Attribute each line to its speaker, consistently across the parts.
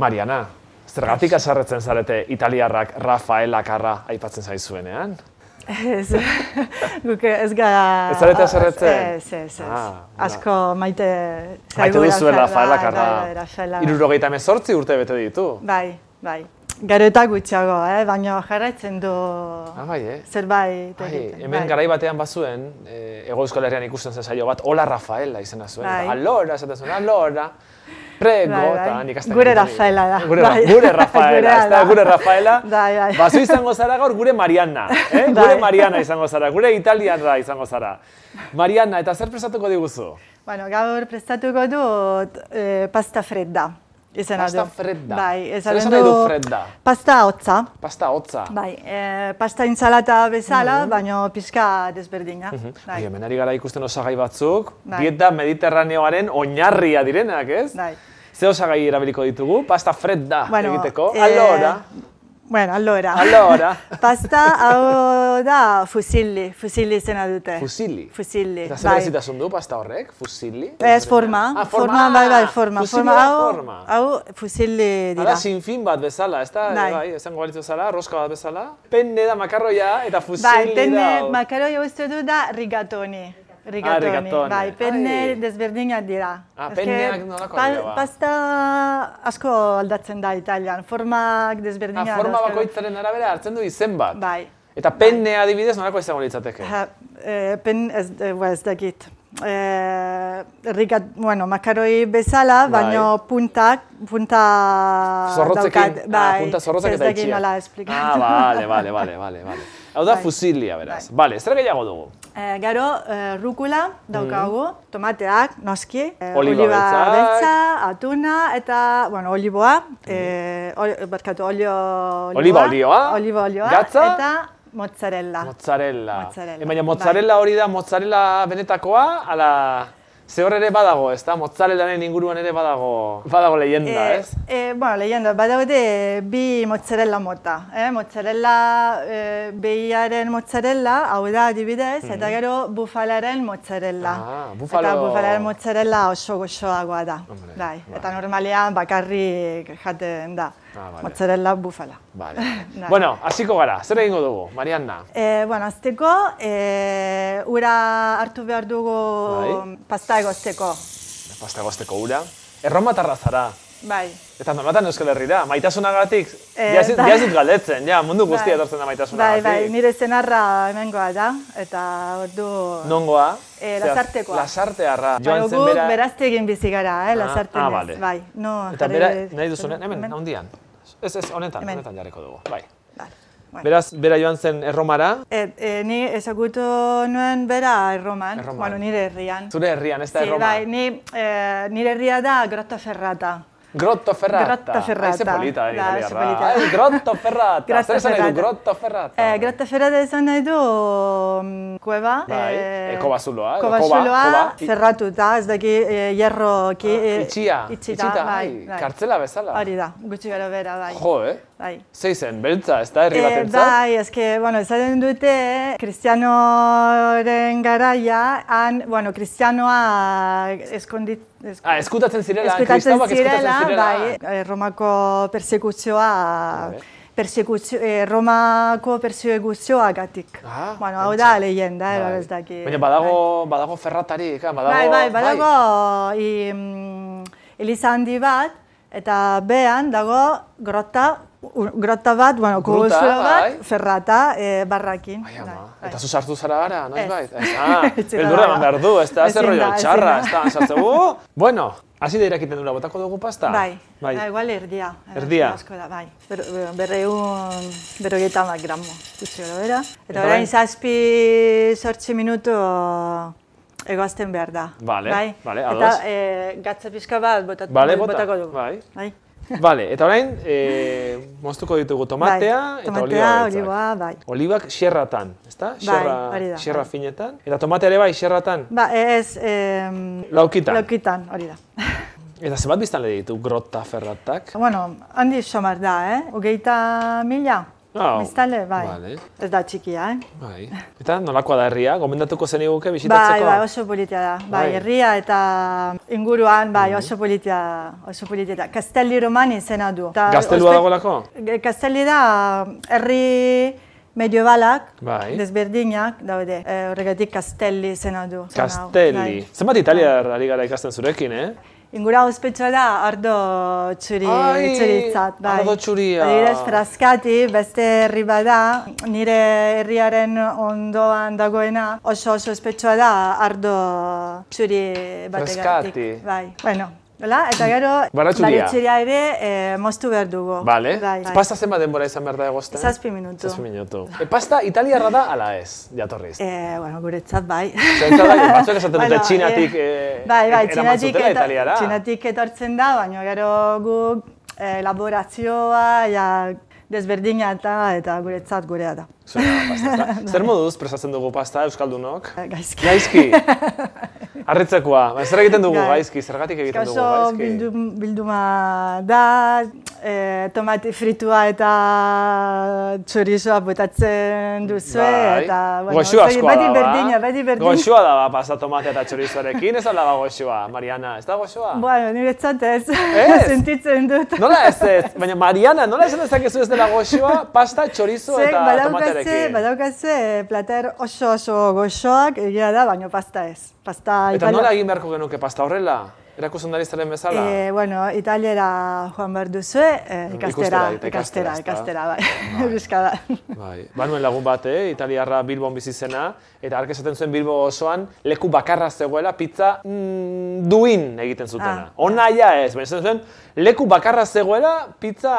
Speaker 1: Mariana, zergatik asarretzen zarete italiarrak Rafael Akarra aipatzen zaizuenean?
Speaker 2: Ez, guk ez gara...
Speaker 1: Ez zarete haserretzen?
Speaker 2: Ez, ez, ez.
Speaker 1: Ah, da.
Speaker 2: Asko maite...
Speaker 1: Maite
Speaker 2: zaigula
Speaker 1: duzuen
Speaker 2: zara,
Speaker 1: Rafael
Speaker 2: bai, Rafael
Speaker 1: Akarra,
Speaker 2: Lakarra.
Speaker 1: irurogeita mezortzi urte bete ditu.
Speaker 2: Bai, bai. Gero eta gutxiago, eh? baina jarraitzen du
Speaker 1: Ah, bai, eh?
Speaker 2: zerbait
Speaker 1: Bai,
Speaker 2: egiten.
Speaker 1: hemen garai batean bazuen, e, Ego Euskal Herrian ikusten zen saio bat, Ola Rafaela izena zuen.
Speaker 2: Bai.
Speaker 1: Eta, Alora, esaten zuen, alora, prego,
Speaker 2: Bai, bai.
Speaker 1: eta nik hasten
Speaker 2: Gure
Speaker 1: nintzen.
Speaker 2: Rafaela da,
Speaker 1: Gure, Ra-
Speaker 2: bai.
Speaker 1: gure Rafaela,
Speaker 2: Gurea
Speaker 1: ez da,
Speaker 2: da.
Speaker 1: gure Rafaela.
Speaker 2: Bai, bai.
Speaker 1: Bazu izango zara gaur gure Mariana, eh?
Speaker 2: Bai.
Speaker 1: gure Mariana izango zara, gure italiarra izango zara. Mariana, eta zer prestatuko diguzu?
Speaker 2: Bueno, gaur prestatuko dut eh, pasta fredda. Izena
Speaker 1: Pasta
Speaker 2: du.
Speaker 1: fredda.
Speaker 2: Bai,
Speaker 1: Zer
Speaker 2: ezagen
Speaker 1: esan nahi du fredda?
Speaker 2: Pasta hotza.
Speaker 1: Pasta hotza.
Speaker 2: Bai, eh, pasta insalata
Speaker 1: Mhm.
Speaker 2: bezala, baina pizka desberdina.
Speaker 1: Bai.
Speaker 2: Bai,
Speaker 1: Hemen ari gara ikusten osagai batzuk,
Speaker 2: Bai.
Speaker 1: dieta mediterraneoaren oinarria direnak, ez?
Speaker 2: Bai.
Speaker 1: Ze osagai erabiliko ditugu? Pasta fredda egiteko,
Speaker 2: eh,
Speaker 1: alora.
Speaker 2: Bueno, allora.
Speaker 1: Allora.
Speaker 2: pasta hau da fusilli, fusilli izena dute.
Speaker 1: Fusili.
Speaker 2: Fusilli,
Speaker 1: Eta zer
Speaker 2: eh, bai.
Speaker 1: berezitasun du pasta horrek? Fusili?
Speaker 2: Ez forma,
Speaker 1: Ah,
Speaker 2: forma, bai, bai, forma.
Speaker 1: Fusili
Speaker 2: forma,
Speaker 1: da
Speaker 2: hau,
Speaker 1: forma.
Speaker 2: hau fusilli
Speaker 1: Hala,
Speaker 2: dira.
Speaker 1: sinfin bat bezala, ez da,
Speaker 2: Bai.
Speaker 1: bai, esango balitzu zara, roska bat bezala. Penne da makarroia eta
Speaker 2: Bai,
Speaker 1: fusili
Speaker 2: penne,
Speaker 1: da.
Speaker 2: makaroi uste du da rigatoni.
Speaker 1: Ah, rigatoni.
Speaker 2: Rigatoni, bai, penne
Speaker 1: Ai.
Speaker 2: desberdinak dira.
Speaker 1: Ah,
Speaker 2: Eske
Speaker 1: penneak nolakoak dira, ba?
Speaker 2: Pasta asko aldatzen da Italian, formak
Speaker 1: Ah,
Speaker 2: desberdinak.
Speaker 1: forma
Speaker 2: dauzkagu.
Speaker 1: bakoitzaren arabera hartzen du izen bat.
Speaker 2: Bai.
Speaker 1: Eta penne adibidez nolako izango litzateke?
Speaker 2: Ha, eh, pen ez, eh, ba, ez dakit. Eh, rigat, bueno, makaroi bezala,
Speaker 1: Bai.
Speaker 2: baino puntak, punta
Speaker 1: Zorrotzekin,
Speaker 2: daukat,
Speaker 1: ah,
Speaker 2: bai,
Speaker 1: punta zorrotzak eta
Speaker 2: Ez dakit
Speaker 1: itxia.
Speaker 2: nola
Speaker 1: Ah,
Speaker 2: esplikatu.
Speaker 1: bale, bale, bale, bale, bale. Hau da
Speaker 2: Bai.
Speaker 1: fusilia, beraz. Bale, zer gehiago dugu?
Speaker 2: Eh, gero, eh, rukula daukagu, tomateak, noski, eh,
Speaker 1: Oliba
Speaker 2: oliba
Speaker 1: Mm. beltzak. Mm.
Speaker 2: beltza, atuna, eta, bueno, oliboa, eh, ol, barkatu, olio,
Speaker 1: Oliba olioa,
Speaker 2: oliba olioa,
Speaker 1: gatza.
Speaker 2: eta mozzarella.
Speaker 1: Mozzarella.
Speaker 2: Ah, Mozzarella,
Speaker 1: Eh, Baina
Speaker 2: bai.
Speaker 1: mozzarella hori da mozzarella benetakoa, ala... Ze hor ere badago, ez da? Mozzarellaren inguruan ere badago, badago leyenda,
Speaker 2: Eh,
Speaker 1: ez?
Speaker 2: eh, bueno, leyenda, badaude bi mozzarella mota. Eh? Mozzarella eh, behiaren mozzarella, hau da adibidez, eta gero bufalaren mozzarella.
Speaker 1: Mhm. Ah, bufalo-
Speaker 2: Eta bufalaren mozzarella oso goxoagoa da.
Speaker 1: Hombre,
Speaker 2: bai.
Speaker 1: bai.
Speaker 2: Eta normalean bakarrik jaten da.
Speaker 1: Ah, vale.
Speaker 2: Mozzarella bufala.
Speaker 1: Vale.
Speaker 2: Bai.
Speaker 1: bueno, hasiko gara, zer egingo dugu, Marianna?
Speaker 2: E, bueno, azteko, e, ura hartu behar dugu
Speaker 1: Bai.
Speaker 2: pasta egozteko.
Speaker 1: Pasta gozteko ura. Erromatarra zara.
Speaker 2: Bai.
Speaker 1: Eta normatan Euskal Herrira, maitasunagatik,
Speaker 2: Eh,
Speaker 1: jaz,
Speaker 2: bai.
Speaker 1: jaz dut galdetzen, ja, mundu guztia
Speaker 2: Bai.
Speaker 1: etortzen da
Speaker 2: Bai,
Speaker 1: maitasunagatik.
Speaker 2: bai, nire zenarra hemengoa da, eta ordu...
Speaker 1: Nongoa?
Speaker 2: Eh,
Speaker 1: Zera,
Speaker 2: Lasartekoa.
Speaker 1: Lasartearra.
Speaker 2: Baina
Speaker 1: Joan zen
Speaker 2: gu
Speaker 1: bera...
Speaker 2: beraztegin bizi gara, eh, lazartenez.
Speaker 1: ah, bale.
Speaker 2: Bai, no,
Speaker 1: Eta
Speaker 2: jarri-
Speaker 1: bera, nahi duzunen, hemen,
Speaker 2: hemen?
Speaker 1: handian. Ez, ez, honetan,
Speaker 2: Hemen.
Speaker 1: honetan jarriko dugu. Bai.
Speaker 2: Bale, bueno.
Speaker 1: Beraz, bera joan zen Erromara,
Speaker 2: Et, eh, ni ezagutu nuen bera Erroman,
Speaker 1: Erroman.
Speaker 2: bueno, nire herrian.
Speaker 1: zure herrian, ez da
Speaker 2: Sí,
Speaker 1: Erroma.
Speaker 2: bai, ni, eh, nire herria da Grotta Ferrata.
Speaker 1: Grotto Ferrata.
Speaker 2: Grotta Ferrata.
Speaker 1: Ai, ze polita,
Speaker 2: Da,
Speaker 1: da,
Speaker 2: ze polita.
Speaker 1: Grotto Ferrata.
Speaker 2: Grotta
Speaker 1: Zer esan nahi du,
Speaker 2: Ferrata.
Speaker 1: Grotto Ferrata.
Speaker 2: Eh, Grotta Ferrata izan nahi du mm, kueba.
Speaker 1: Bai, eh, kobazuloa, edo
Speaker 2: kobazuloa
Speaker 1: koba, koba. I-
Speaker 2: ferratuta, ez daki eh, hierro... Ki, eh,
Speaker 1: Ah, Itxia,
Speaker 2: itxita,
Speaker 1: itxita,
Speaker 2: bai,
Speaker 1: ai,
Speaker 2: bai.
Speaker 1: kartzela bezala.
Speaker 2: Hori da, gutxi gara bera, bai.
Speaker 1: Jo, eh?
Speaker 2: Bai.
Speaker 1: Zei zen, beltza, ez da, herri
Speaker 2: Eh,
Speaker 1: batentzat?
Speaker 2: bai, eske, bueno, esaten dute, kristianoren garaia, han, bueno, kristianoa eskondit... esk-
Speaker 1: Ah, eskutatzen zirela,
Speaker 2: eskutatzen
Speaker 1: kristauak eskutatzen
Speaker 2: zirela,
Speaker 1: zirela.
Speaker 2: bai, eh, Romako persekuzioa,
Speaker 1: Vale.
Speaker 2: persekuzio, eh, Romako persekuzioagatik.
Speaker 1: Ah,
Speaker 2: bueno, hau da leyenda, eh,
Speaker 1: Bai.
Speaker 2: ez daki.
Speaker 1: Baina badago, badago ferratarik, ah, badago... bai.
Speaker 2: Bai, bai, badago i, mm, eliza handi bat, eta behan dago grota, u- grota bat, bueno,
Speaker 1: Gruta,
Speaker 2: kubuzula bat,
Speaker 1: bai.
Speaker 2: ferrata, e, barrakin.
Speaker 1: Ai,
Speaker 2: bai,
Speaker 1: ama,
Speaker 2: bai.
Speaker 1: eta zu sartu zara gara, noiz
Speaker 2: Ez.
Speaker 1: bai? Ez, ah,
Speaker 2: Etxera
Speaker 1: beldurra
Speaker 2: dago.
Speaker 1: eman behar du, ez da,
Speaker 2: Ezin
Speaker 1: zer rollo
Speaker 2: da, ezin
Speaker 1: txarra,
Speaker 2: da.
Speaker 1: ez da, sartze, uh! Bueno, hasi da irakiten dura, botako dugu pasta?
Speaker 2: Bai,
Speaker 1: Bai,
Speaker 2: da, igual erdia.
Speaker 1: Erdia.
Speaker 2: Asko da, bai. Ber, berreun, berrogeita bat gramo, gutxi gara bera.
Speaker 1: Eta
Speaker 2: Eta orain
Speaker 1: orain?
Speaker 2: zazpi sortzi minutu egoazten behar da.
Speaker 1: Vale,
Speaker 2: bai.
Speaker 1: vale,
Speaker 2: Eta
Speaker 1: ados.
Speaker 2: e, gatza pixka bat botat,
Speaker 1: Vale, bota,
Speaker 2: botako dugu.
Speaker 1: bai.
Speaker 2: bai.
Speaker 1: Vale, eta orain, eh, moztuko ditugu tomatea
Speaker 2: Bai,
Speaker 1: eta
Speaker 2: tomatea,
Speaker 1: oliba beltzak.
Speaker 2: oliboa, bai.
Speaker 1: Olibak xerratan, ezta?
Speaker 2: Bai,
Speaker 1: Xerra,
Speaker 2: hori da,
Speaker 1: xerra
Speaker 2: bai.
Speaker 1: finetan. Eta tomatea ere bai, xerratan.
Speaker 2: Ba, ez... em,
Speaker 1: Laukitan.
Speaker 2: Laukitan, hori da.
Speaker 1: Eta zenbat biztan ditu grota ferratak?
Speaker 2: bueno, handi somar da, eh? Hogeita mila?
Speaker 1: Hau.
Speaker 2: Biztanle, bai.
Speaker 1: Vale.
Speaker 2: Ez da txikia, eh?
Speaker 1: Bai. Eta nolakoa da herria? Gomendatuko zeniguke
Speaker 2: Bai,
Speaker 1: bisitatzeko?
Speaker 2: bai, oso politia da. Bai,
Speaker 1: Bai. Mhm.
Speaker 2: herria eta inguruan, bai, oso politia, oso politia da. Castelli Romani izena du. Eta
Speaker 1: Gaztelua
Speaker 2: ospe-
Speaker 1: dagolako?
Speaker 2: Ge- Castelli da herri mediobalak,
Speaker 1: Bai.
Speaker 2: desberdinak daude. E, horregatik Castelli izena du. Zona hau.
Speaker 1: Castelli.
Speaker 2: Bai.
Speaker 1: Zenbat italiar ari gara ikasten zurekin, eh?
Speaker 2: Ingura ospetsua da ardo txuri,
Speaker 1: Ai,
Speaker 2: txuritzat, bai.
Speaker 1: ardo txuria.
Speaker 2: Adibidez, Frascati, beste herri bada, nire herriaren ondoan dagoena, oso oso ospetsua da ardo txuri bategatik.
Speaker 1: Frascati.
Speaker 2: Bai, bueno, hola? Eta gero,
Speaker 1: Baratxuria.
Speaker 2: baratxuria ere eh, moztu behar dugu.
Speaker 1: Vale.
Speaker 2: Bai, bai.
Speaker 1: Pasta zenbat denbora izan behar da egosten?
Speaker 2: Zazpi minutu.
Speaker 1: Zazpi minutu. E, pasta italiarra da ala ez, jatorriz?
Speaker 2: Eh, bueno, guretzat bai.
Speaker 1: Zentzu da, batzuk esaten dute
Speaker 2: Bueno,
Speaker 1: txinatik,
Speaker 2: eh,
Speaker 1: eh,
Speaker 2: bai, bai,
Speaker 1: eraman
Speaker 2: txinatik,
Speaker 1: zutela
Speaker 2: eto-
Speaker 1: Italiara.
Speaker 2: txinatik etortzen da, baina gero gu eh, laborazioa ja, desberdina eta eta guretzat gurea da.
Speaker 1: Zuena da pasta, ezta? Zer moduz presatzen dugu pasta euskaldunok?
Speaker 2: Eh, Gaizki.
Speaker 1: Gaizki. Harritzekoa. Ba, Zer egiten dugu
Speaker 2: Gai.
Speaker 1: gaizki? Zergatik egiten dugu
Speaker 2: Kaso
Speaker 1: gaizki?
Speaker 2: bildum, bilduma da, eh, tomate fritua eta txorizoa botatzen duzu
Speaker 1: Bai.
Speaker 2: eta...
Speaker 1: goxua askoa
Speaker 2: beti
Speaker 1: da, ba?
Speaker 2: berdina, beti berdina.
Speaker 1: Goxua da, ba, pasta tomate eta txorizoarekin, ez alda ba goxua, Mariana, ez da goxua?
Speaker 2: Bueno, niretzat ez,
Speaker 1: Ez?
Speaker 2: sentitzen dut.
Speaker 1: Nola ez ez? Baina Mariana, nola esan dezakezu ez dela goxua, pasta, txorizo
Speaker 2: Zuek
Speaker 1: eta
Speaker 2: badaukaze,
Speaker 1: tomatearekin?
Speaker 2: badaukaze eh, plater oso oso goxoak egia da, baina pasta ez. Pasta
Speaker 1: Eta
Speaker 2: itali-
Speaker 1: nola egin beharko genuke pasta horrela? Erakusten dari zaren bezala?
Speaker 2: Eh, bueno, italiera joan behar duzue, eh,
Speaker 1: Ikustera,
Speaker 2: ikastera,
Speaker 1: eta
Speaker 2: ikastera,
Speaker 1: ikastera,
Speaker 2: ikastera, bai, bizka da.
Speaker 1: Bai. Banuen lagun bat, eh? italiarra Bilbon bizi zena, eta hark esaten zuen Bilbo osoan leku bakarra zegoela pizza mm, duin egiten zutena.
Speaker 2: Ah.
Speaker 1: Ona ja ez, baina esaten zuen leku bakarra zegoela pizza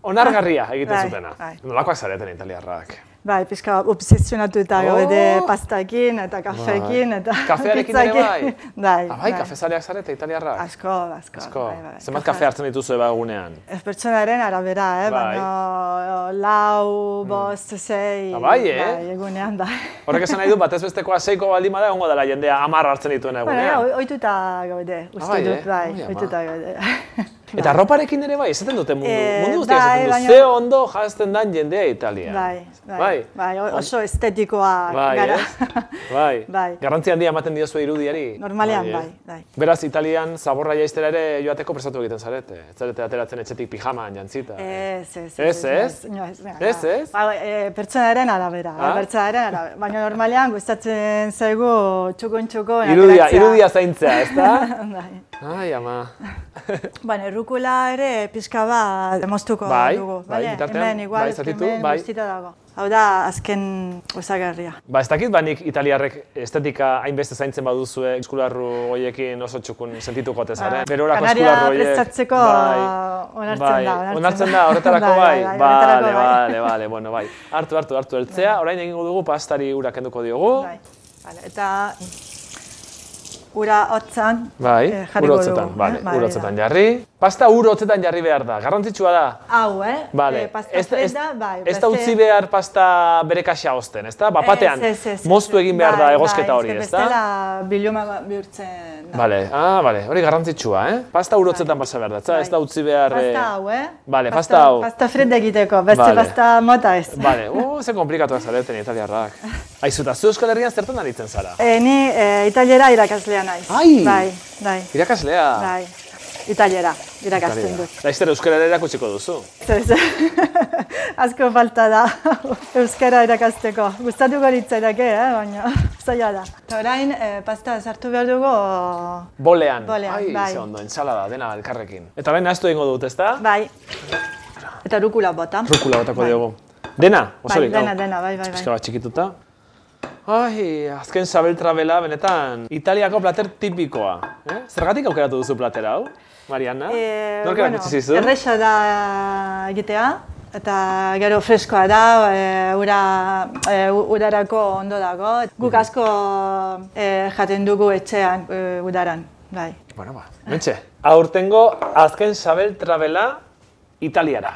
Speaker 1: onargarria egiten
Speaker 2: Bai,
Speaker 1: zutena.
Speaker 2: bai.
Speaker 1: Nolakoak zareten italiarrak?
Speaker 2: Bai, pixka obsesionatuta gaude
Speaker 1: Oh!
Speaker 2: pastakin eta kafeekin eta
Speaker 1: Kafearekin ere bai?
Speaker 2: bai,
Speaker 1: Ah, bai, kafezaleak zarete italiarrak?
Speaker 2: Asko, asko.
Speaker 1: Asko.
Speaker 2: bai, bai,
Speaker 1: Zenbat kafe hartzen dituzue ba egunean?
Speaker 2: Ez pertsonaren arabera, eh?
Speaker 1: Bai. Mm.
Speaker 2: Baina eh, lau, bost, zei...
Speaker 1: Ah, bai, eh?
Speaker 2: Bai, egunean, bai.
Speaker 1: Horrek esan nahi du batez bestekoa seiko baldin bada egongo dela jendea hamar hartzen dituen
Speaker 2: Bueno, ja,
Speaker 1: egunean.
Speaker 2: oi- ohituta gaude, uste
Speaker 1: bai, eh?
Speaker 2: dut, bai,
Speaker 1: Oi, ama.
Speaker 2: ohituta gaude.
Speaker 1: Eta roparekin ere bai, esaten dute mundu,
Speaker 2: Eh,
Speaker 1: mundu guztiak
Speaker 2: bai,
Speaker 1: esaten
Speaker 2: baina-
Speaker 1: du, ze ondo jazten dan jendea Italian.
Speaker 2: bai, bai, bai, o- oso estetikoa
Speaker 1: Bai,
Speaker 2: gara.
Speaker 1: ez? Bai.
Speaker 2: Bai.
Speaker 1: Garrantzi handia ematen diozue irudiari.
Speaker 2: Normalean,
Speaker 1: eh?
Speaker 2: bai, bai.
Speaker 1: Beraz, Italian zaborra jaistera ere joateko prestatu egiten zarete. Ez zarete ateratzen etxetik pijaman jantzita. eh?
Speaker 2: Ez, ez,
Speaker 1: Ez, ez?
Speaker 2: inoiz, inoiz,
Speaker 1: Ez,
Speaker 2: inoiz, bai.
Speaker 1: ez?
Speaker 2: Ba, bai, eh, pertsonaren arabera,
Speaker 1: Ah?
Speaker 2: eh, pertsonaren arabera. Baina normalean gustatzen zaigu txukun-txukun
Speaker 1: Irudia,
Speaker 2: ateratzea.
Speaker 1: irudia zaintzea, ez da?
Speaker 2: bai.
Speaker 1: Ai, ama.
Speaker 2: Bueno, errukula ere pixka bat moztuko
Speaker 1: Bai,
Speaker 2: dugu.
Speaker 1: bai,
Speaker 2: bale?
Speaker 1: bitartean,
Speaker 2: hemen igual,
Speaker 1: bai, zatitu,
Speaker 2: hemen
Speaker 1: bai.
Speaker 2: guztita dago. Hau da, azken osagarria.
Speaker 1: Ba, ez dakit banik italiarrek estetika hainbeste zaintzen baduzue eskularru hoiekin oso txukun sentituko ote zaren.
Speaker 2: Ah,
Speaker 1: Berorako
Speaker 2: Kanaria
Speaker 1: eskularru hoiek.
Speaker 2: prestatzeko, onartzen
Speaker 1: bai.
Speaker 2: da,
Speaker 1: Onartzen,
Speaker 2: onartzen
Speaker 1: da,
Speaker 2: da.
Speaker 1: horretarako
Speaker 2: Bai,
Speaker 1: bai.
Speaker 2: bai, bai,
Speaker 1: Bale,
Speaker 2: horretarako bai.
Speaker 1: bale, bale, bueno, bai. Hartu, hartu, hartu eltzea, orain egingo dugu pastari ura kenduko diogu.
Speaker 2: Bai, vale, eta ura hotzan
Speaker 1: Bai,
Speaker 2: eh,
Speaker 1: ur
Speaker 2: jarriko
Speaker 1: hotzetan,
Speaker 2: dugu,
Speaker 1: bale,
Speaker 2: eh? Bai,
Speaker 1: ur
Speaker 2: da.
Speaker 1: hotzetan jarri. Pasta ur hotzetan jarri behar da, garrantzitsua da.
Speaker 2: Hau, eh?
Speaker 1: Bale,
Speaker 2: Eh, pasta
Speaker 1: ez, da- ez,
Speaker 2: fredda, bai,
Speaker 1: ez da
Speaker 2: beste-
Speaker 1: utzi behar pasta bere kaxa osten, ez da? Bapatean,
Speaker 2: Ez, ez, ez,
Speaker 1: moztu
Speaker 2: ez,
Speaker 1: egin behar da
Speaker 2: bai,
Speaker 1: egozketa
Speaker 2: bai,
Speaker 1: hori, ez da?
Speaker 2: Bestela biluma ba- bihurtzen da.
Speaker 1: Bale, ah, bale, hori garrantzitsua, eh? Pasta urotzetan pasa behar da, etza? ez da utzi behar... eh,
Speaker 2: Bai. Pasta hau, eh?
Speaker 1: Bale, pasta hau.
Speaker 2: Pasta fredda egiteko, beste
Speaker 1: Vale.
Speaker 2: pasta mota ez.
Speaker 1: Bale, oh, ze komplikatuak zareten italiarrak. Aizu, eta zu Euskal Herrian zertan aritzen zara?
Speaker 2: Eh, ni eh, italiera irakaslea naiz.
Speaker 1: Ai!
Speaker 2: Bai, bai,
Speaker 1: Irakaslea.
Speaker 2: bai. Italiera irakasten
Speaker 1: Italiera.
Speaker 2: dut.
Speaker 1: Laizter Euskal Herriera erakutsiko duzu.
Speaker 2: Ez, ez. Asko falta da euskara irakasteko. Gustatuko litzaidake, eh, baina zaila da. Eta orain, eh, pasta sartu behar dugu
Speaker 1: Bolean.
Speaker 2: Bolean,
Speaker 1: Ai,
Speaker 2: bai.
Speaker 1: ze ondo, ensalada, dena elkarrekin. Eta orain ahaztu egingo dut, ezta?
Speaker 2: bai. Eta rukula bota.
Speaker 1: Rukula batako
Speaker 2: Bai.
Speaker 1: diogu. Dena,
Speaker 2: Bai,
Speaker 1: osorik.
Speaker 2: dena,
Speaker 1: hau.
Speaker 2: dena, bai, bai,
Speaker 1: Pixka
Speaker 2: bai.
Speaker 1: bat txikituta. Ai, azken sabeltra bela, benetan, Italiako plater tipikoa. Eh? Zergatik aukeratu duzu platera hau, Mariana?
Speaker 2: Eh,
Speaker 1: Nork erakutsi zizu?
Speaker 2: erresa da egitea, eta gero freskoa da, e, ura, e, u- udarako ondo dago. Guk asko e, jaten dugu etxean e, udaran, bai.
Speaker 1: Bueno, ba, mentxe. Aurtengo azken sabeltra bela, Italiara.